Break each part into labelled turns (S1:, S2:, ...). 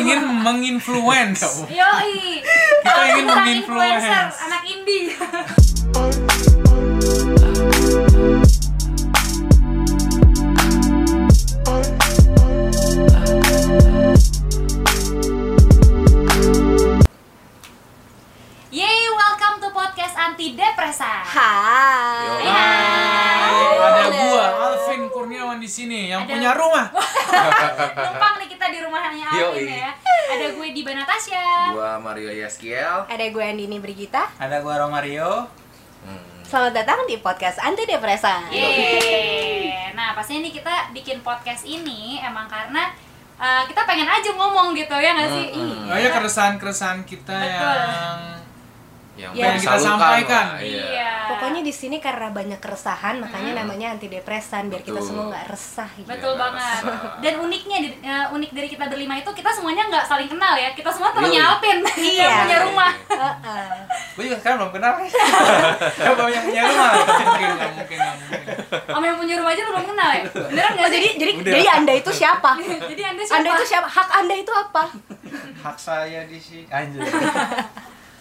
S1: ingin menginfluence
S2: Yoi.
S1: Kita
S2: Kalau
S1: ingin
S2: bukan
S1: menginfluence.
S2: influencer, anak indie. Yeay, welcome to podcast anti depresa.
S1: Hai,
S3: Hai.
S1: ada gua Alvin Kurniawan di sini yang
S2: Ada-
S1: punya rumah
S2: Numpang nih kita di rumahnya Alvin
S3: Yoi.
S2: ya. Ada gue di Natasha.
S3: Gua Mario Yaskiel.
S4: Ada gue Andini Brigita.
S1: ada gua Romario
S3: Hmm.
S4: Selamat datang di podcast Antidepresan.
S2: Yeay. Nah, pastinya nih kita bikin podcast ini emang karena uh, kita pengen aja ngomong gitu ya nggak sih?
S3: Mm-mm.
S1: oh ya keresahan keresahan kita
S2: Betul.
S1: yang
S4: Yang
S3: Yang pengen
S1: kita
S3: disalurkan
S1: sampaikan.
S3: lah,
S2: Ih,
S3: iya.
S4: Pokoknya di sini karena banyak keresahan, makanya
S3: Hmm.
S4: namanya antidepresan biar kita
S3: Betul.
S4: semua nggak resah gitu.
S2: Betul
S3: Iya,
S2: banget.
S3: rasa.
S2: Dan uniknya di- eh, unik dari kita berlima itu kita semuanya nggak saling kenal ya. Kita semua
S3: Yoi.
S2: temennya Alvin yang
S4: Iya.
S2: punya rumah.
S4: Heeh.
S1: gua juga sekarang belum kenal ya belum yang punya rumah mungkin nggak mungkin nggak mungkin
S2: Sama yang punya rumah aja lu belum kenal ya. Beneran
S4: Oh,
S2: nggak
S4: jadi
S2: sih?
S4: jadi
S3: Udah.
S4: jadi anda itu siapa?
S2: jadi Anda siapa?
S4: Anda itu siapa? Hak anda itu apa?
S1: hak saya di sini anjir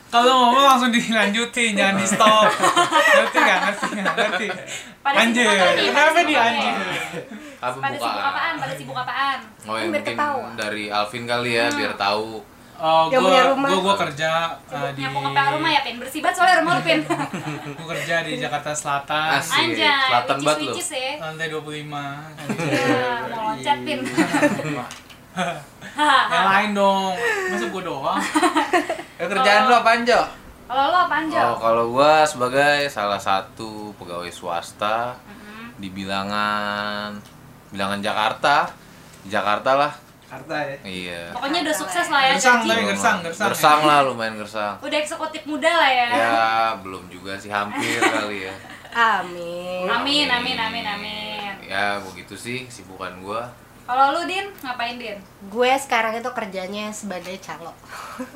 S1: kalau ngomong langsung dilanjutin jangan di stop ngerti nggak ngerti nggak ngerti
S2: Pada
S1: anjir
S2: sibuk apa nih?
S1: kenapa
S2: Pada
S1: di
S2: sibuk apa
S1: anjir
S2: nih?
S3: Apa
S2: Pada sibuk apaan? Pada sibuk apaan?
S3: Oh,
S4: Kan
S3: yang
S4: biar
S3: mungkin
S4: ketawa. Hmm.
S3: dari Alvin kali ya, biar tahu.
S1: Oh,
S4: Yang
S1: gua,
S4: punya rumah.
S1: gua, gua kerja uh,
S2: Sibuk
S1: di
S2: nyapu ngepel rumah ya, Pin. Bersih banget soalnya rumah lu, Pin.
S1: Gua kerja di Jakarta Selatan.
S3: Asik.
S2: Anjay,
S3: Selatan banget lu.
S2: wicis-wicis ya.
S1: Lantai 25.
S2: Ya, mau loncat, Pin.
S3: Iya.
S1: Yang lain dong. Masa gua doang?
S2: kerjaan lu
S1: apaan, Jo?
S2: Kalau lo apaan, Jo?
S3: Oh, kalau gua sebagai salah satu pegawai swasta
S4: Mm-hmm.
S2: Mhm.
S3: di bilangan bilangan Jakarta, Di Jakarta lah.
S1: Jakarta ya.
S3: Iya.
S2: Pokoknya udah sukses lah ya,
S1: Gersang
S2: gaji.
S1: tapi gersang, gersang. ya.
S3: Gersang lah lumayan gersang.
S2: Udah eksekutif muda lah ya.
S3: Ya, belum juga sih hampir kali ya.
S4: Amin.
S2: Amin, amin, amin,
S4: Iya.
S2: amin.
S3: Ya, begitu sih sibukan gua.
S2: Kalau lu Din, ngapain Din?
S4: Gue sekarang itu kerjanya sebagai calo.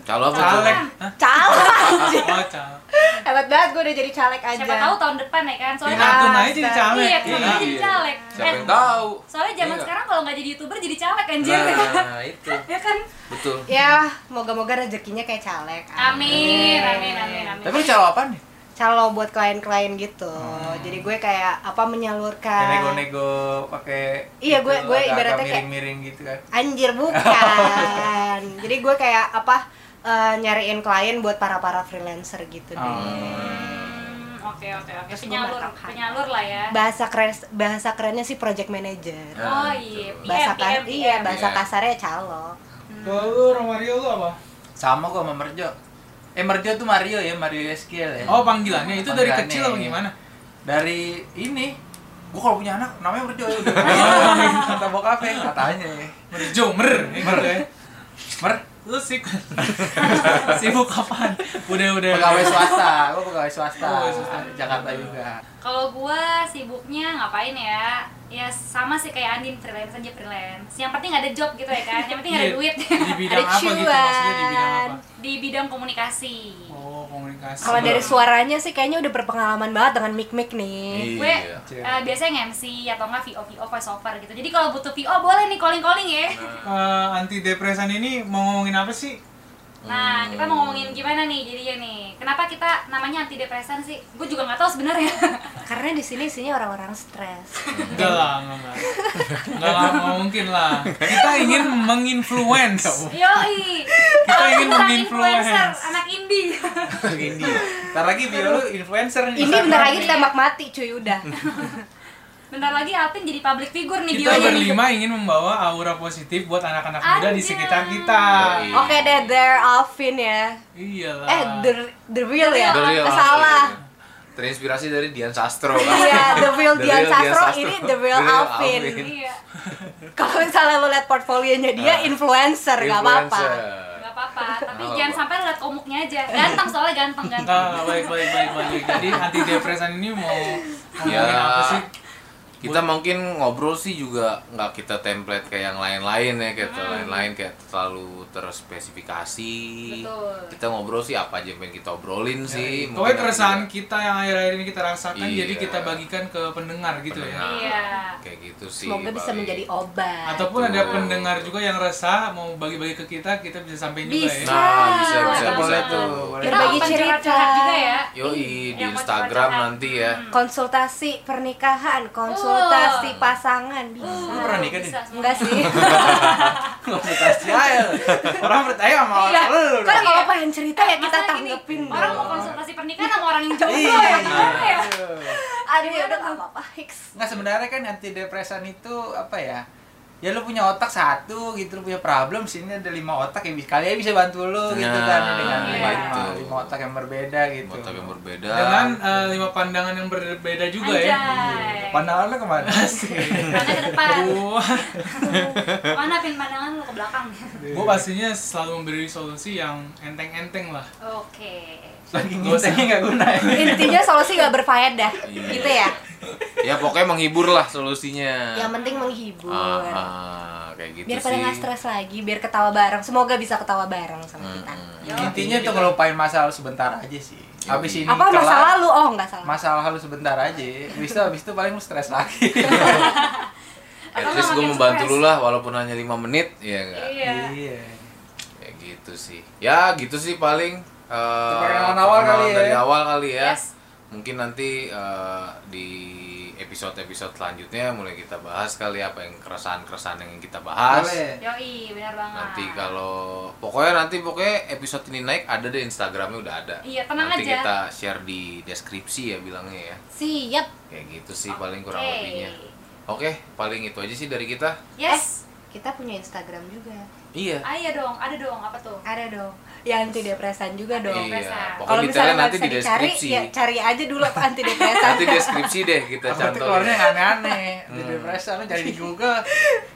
S3: Kalau apa tuh?
S2: Iya.
S1: Caleg. Hah?
S4: Calo.
S1: Oh, caleg.
S4: Hebat banget gue udah jadi caleg aja.
S2: Siapa tahu tahun depan ya kan?
S1: Ya,
S2: Soalnya
S1: Natuna aja jadi caleg.
S2: Iya, kenapa
S1: Iya.
S2: jadi caleg?
S3: Siapa
S2: Eh,
S3: yang tahu?
S2: Soalnya zaman
S3: Iya.
S2: sekarang kalau nggak jadi youtuber jadi caleg anjir.
S3: Nah, itu.
S2: ya kan?
S3: Betul.
S4: Ya, moga-moga rezekinya kayak caleg.
S2: Amin, amin, amin, amin.
S3: Iya. Tapi lu calo apa nih?
S4: Calo buat klien-klien gitu. Jadi gue kayak apa menyalurkan.
S1: pakai
S4: Iya, gitu, gue- gue agak-agak ibaratnya kayak-
S1: miring gitu kan.
S4: Anjir bukan. Jadi gue kayak apa eh, nyariin klien buat para para freelancer gitu deh.
S2: Hmm, Oke, oke, oke.
S4: Terus
S2: Penyalur,
S4: membatalkan.
S2: penyalur lah ya.
S4: Bahasa keren bahasa kerennya sih project manager.
S2: Oh iya, PM,
S3: Betul.
S4: Bahasa
S2: PM,
S4: ka- iya
S2: PM.
S4: bahasa
S3: Iya.
S4: kasarnya calo.
S1: Kalau lu Mario lu apa?
S5: sama gua sama Merjo eh Merjo tuh Mario ya Mario SQL ya
S1: Oh, panggilannya itu dari
S5: Panggilannya,
S1: kecil apa
S5: iya.
S1: gimana?
S5: dari ini gua kalau punya anak namanya Merjo ya udah.
S1: Oh, iya.
S5: kata bokapnya katanya ya.
S1: Merjo, mer, gitu ya.
S5: Mer
S1: Lu sih sibuk kapan? Udah udah.
S5: pegawai swasta gua pegawai swasta
S1: Pegawai swasta.
S5: Jakarta juga
S2: Kalau gua sibuknya ngapain ya? Ya sama sih kayak Andin freelance aja freelance. Yang penting ada job gitu ya kan. Yang penting ada
S1: Iya,
S2: duit
S1: Di bidang
S4: Ada
S1: apa gitu maksudnya di bidang
S4: cuan.
S1: apa?
S2: di bidang komunikasi.
S1: Oh, komunikasi.
S4: Kalau dari suaranya sih kayaknya udah berpengalaman banget dengan mic-mic nih.
S2: Gue
S3: Iya.
S2: eh, biasanya MC atau enggak VO VO voice over gitu. Jadi kalau butuh VO boleh nih calling calling ya.
S1: Eh, antidepresan ini mau ngomongin apa sih?
S2: Nah, kita mau ngomongin gimana nih jadinya nih. Kenapa kita namanya antidepresan sih? Gue juga nggak tahu sebenarnya.
S4: Karena di sini isinya orang-orang stres.
S1: Enggak lah, enggak lah. Enggak lah, nggak mungkin lah. Kita ingin menginfluence.
S2: Yoi.
S1: Kita
S2: Kalau
S1: ingin
S2: bukan
S1: menginfluence.
S2: anak indie.
S5: ini ntar lagi bio lu influencer nih
S4: Ini bentar lagi ditembak mati cuy udah.
S2: Bentar lagi Alvin jadi public figure nih
S1: Kita
S2: bionya nih.
S1: berlima ingin membawa aura positif buat anak-anak muda di
S2: gitu. Anjay.
S1: sekitar kita. Iya
S3: Yoi.
S4: Oke deh, there Alvin ya.
S1: Iyalah.
S4: Eh, the the real ya.
S3: Dari
S4: Eh,
S3: lah,
S4: Salah.
S3: iya. Terinspirasi dari Dian Sastro.
S4: Iya, The Real
S3: The
S4: Dian
S3: Real Dian
S4: Sastro
S3: Sastro.
S4: ini The Real
S3: The Real
S4: Alvin.
S3: Alvin.
S2: Iya.
S4: Kalau misalnya lo liat portfolionya dia influencer, nggak apa-apa.
S3: Influencer.
S2: Gak apa-apa, tapi
S3: Nggak
S2: jangan
S3: apa-apa.
S2: sampai lihat komuknya aja. Ganteng soalnya ganteng ganteng.
S1: Enggak, baik baik baik baik. Jadi antidepresan ini mau ngomongin
S3: Ya.
S1: apa sih?
S3: kita mungkin ngobrol sih juga nggak kita template kayak yang lain-lain ya kayak
S2: Hmm.
S3: lain-lain kayak terlalu terspesifikasi
S2: Betul. Ya,
S3: kita ngobrol sih apa aja yang pengen kita obrolin sih
S1: Pokoknya
S3: mungkin
S1: keresahan
S3: ada-
S1: kita yang akhir-akhir ini kita rasakan
S3: Iya.
S1: jadi kita bagikan ke pendengar gitu ya.
S3: Pendengar.
S2: Iya.
S3: kayak gitu sih
S4: Semoga bisa
S3: paling.
S4: menjadi obat.
S1: Ataupun ada
S3: Betul.
S1: pendengar juga yang resah mau bagi-bagi ke kita, kita bisa sampai juga
S2: Bisa.
S1: ya.
S3: nah bisa bisa
S2: Boleh
S3: bisa
S2: banget.
S3: tuh
S5: Boleh.
S2: Kita
S4: Berbagi
S2: open
S4: cerita.
S2: curhat-curhat juga ya.
S3: yoi di
S2: Yang
S3: Instagram
S2: kocak-kocakan.
S3: nanti ya
S2: Hmm.
S4: konsultasi pernikahan, konsultasi pasangan bisa.
S5: Lu pernah nikah,
S2: Bisa
S5: Din?
S2: semua.
S4: Enggak sih.
S5: konsultasi aja orang percaya sama
S2: Iya.
S5: lu lu
S4: Kan kalau
S2: Iya.
S4: pengen cerita ya kita
S2: Masalah gini,
S4: tanggepin
S2: Orang
S4: dong.
S2: mau konsultasi pernikahan sama orang yang jomblo
S5: Iya.
S2: ya gimana ya?
S4: Aduh, ya udah enggak apa-apa. Hiks.
S5: nggak sebenarnya kan antidepresan itu apa ya ya lu punya otak satu gitu lu punya problem sini ada lima otak yang bisa kalian bisa bantu lu gitu
S3: Nah,
S5: kan dengan lima,
S3: gitu.
S5: lima otak yang berbeda gitu
S3: Otak yang berbeda
S1: Dengan eh, lima pandangan yang berbeda juga ya.
S2: Anjay.
S5: pandangan lu kemana
S4: Eh.
S2: Karena ke depan.
S1: Gua,
S2: Mana pin pandangan lu ke belakang?
S1: gua pastinya selalu memberi solusi yang enteng-enteng lah.
S2: Oke.
S5: lagi ngintengnya nggak guna ya
S4: Intinya solusi nggak berfaedah,
S3: Iya.
S4: gitu ya.
S3: ya pokoknya menghibur lah solusinya
S4: Yang penting menghibur.
S3: Ah, ah, kayak gitu
S4: biar
S3: sih
S4: pada nggak stres lagi, biar ketawa bareng. Semoga bisa ketawa bareng sama kita.
S5: hmm.
S2: Yo.
S5: intinya tuh ngelupain masalah lu sebentar aja sih habis
S3: gitu.
S4: gitu.
S5: ini
S4: Apa masa
S5: kelar,
S4: lalu? Oh, nggak salah.
S5: masalah lu sebentar aja habis itu habis itu paling lu stres lagi
S3: At
S2: Atau nggak
S3: least gue
S2: makin
S3: membantu
S2: stres.
S3: lu lah walaupun hanya lima menit ya enggak
S2: Iya.
S5: iya
S3: kayak gitu sih ya gitu sih paling eh,
S5: Perkenalan awal
S3: perkenalan
S5: kali ya.
S3: dari awal kali ya
S2: Yes.
S3: mungkin nanti eh, di episode-episode selanjutnya mulai kita bahas kali apa yang keresahan-keresahan yang kita bahas
S5: Boleh.
S2: Yoi, benar banget.
S3: nanti kalau pokoknya nanti pokoknya episode ini naik ada deh Instagramnya udah ada
S2: Iya, tenang
S3: nanti
S2: aja.
S3: kita share di deskripsi ya bilangnya ya
S4: Siap.
S3: kayak gitu sih paling kurang
S2: Oke.
S3: lebihnya oke paling itu aja sih dari kita
S2: Yes.
S4: Kita punya Instagram juga.
S3: iya
S2: Ah, iya dong, ada dong, apa tuh?
S4: Ada dong. Ya anti depresan juga dong.
S3: iya
S2: Presa.
S3: pokoknya detailnya nanti di
S4: nggak bisa dicari,
S3: deskripsi
S4: ya
S3: Iya.
S4: cari aja dulu apa anti depresan.
S3: nanti deskripsi deh kita
S5: Takutnya
S3: cantumin. Hmm.
S5: keluarnya yang aneh-aneh Di depresan lu cari di Google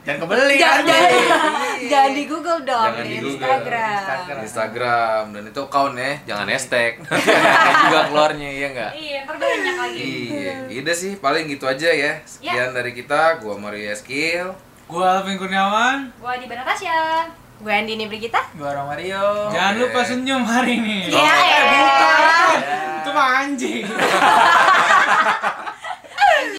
S5: Jangan kebeli
S4: jangan,
S5: anjing.
S4: jangan- jangan di Google dong, di,
S3: Jangan di Google.
S4: Instagram.
S5: Instagram.
S3: Instagram dan itu account ya, jangan hashtag. Nanti juga keluarnya iya enggak?
S2: Iya, ntar banyak lagi.
S3: Iya, iya udah sih paling gitu aja ya. Sekian dari kita, gua Mario Eskil.
S1: Gua Alvin Kurniawan.
S2: Gua di Natasha.
S4: Gue Andini Brigita.
S5: Gua orang Mario
S1: Jangan
S3: Oke.
S1: lupa senyum hari ini.
S4: Iya,
S1: Eh,
S4: eh.
S1: bukan. Itu mah anjing.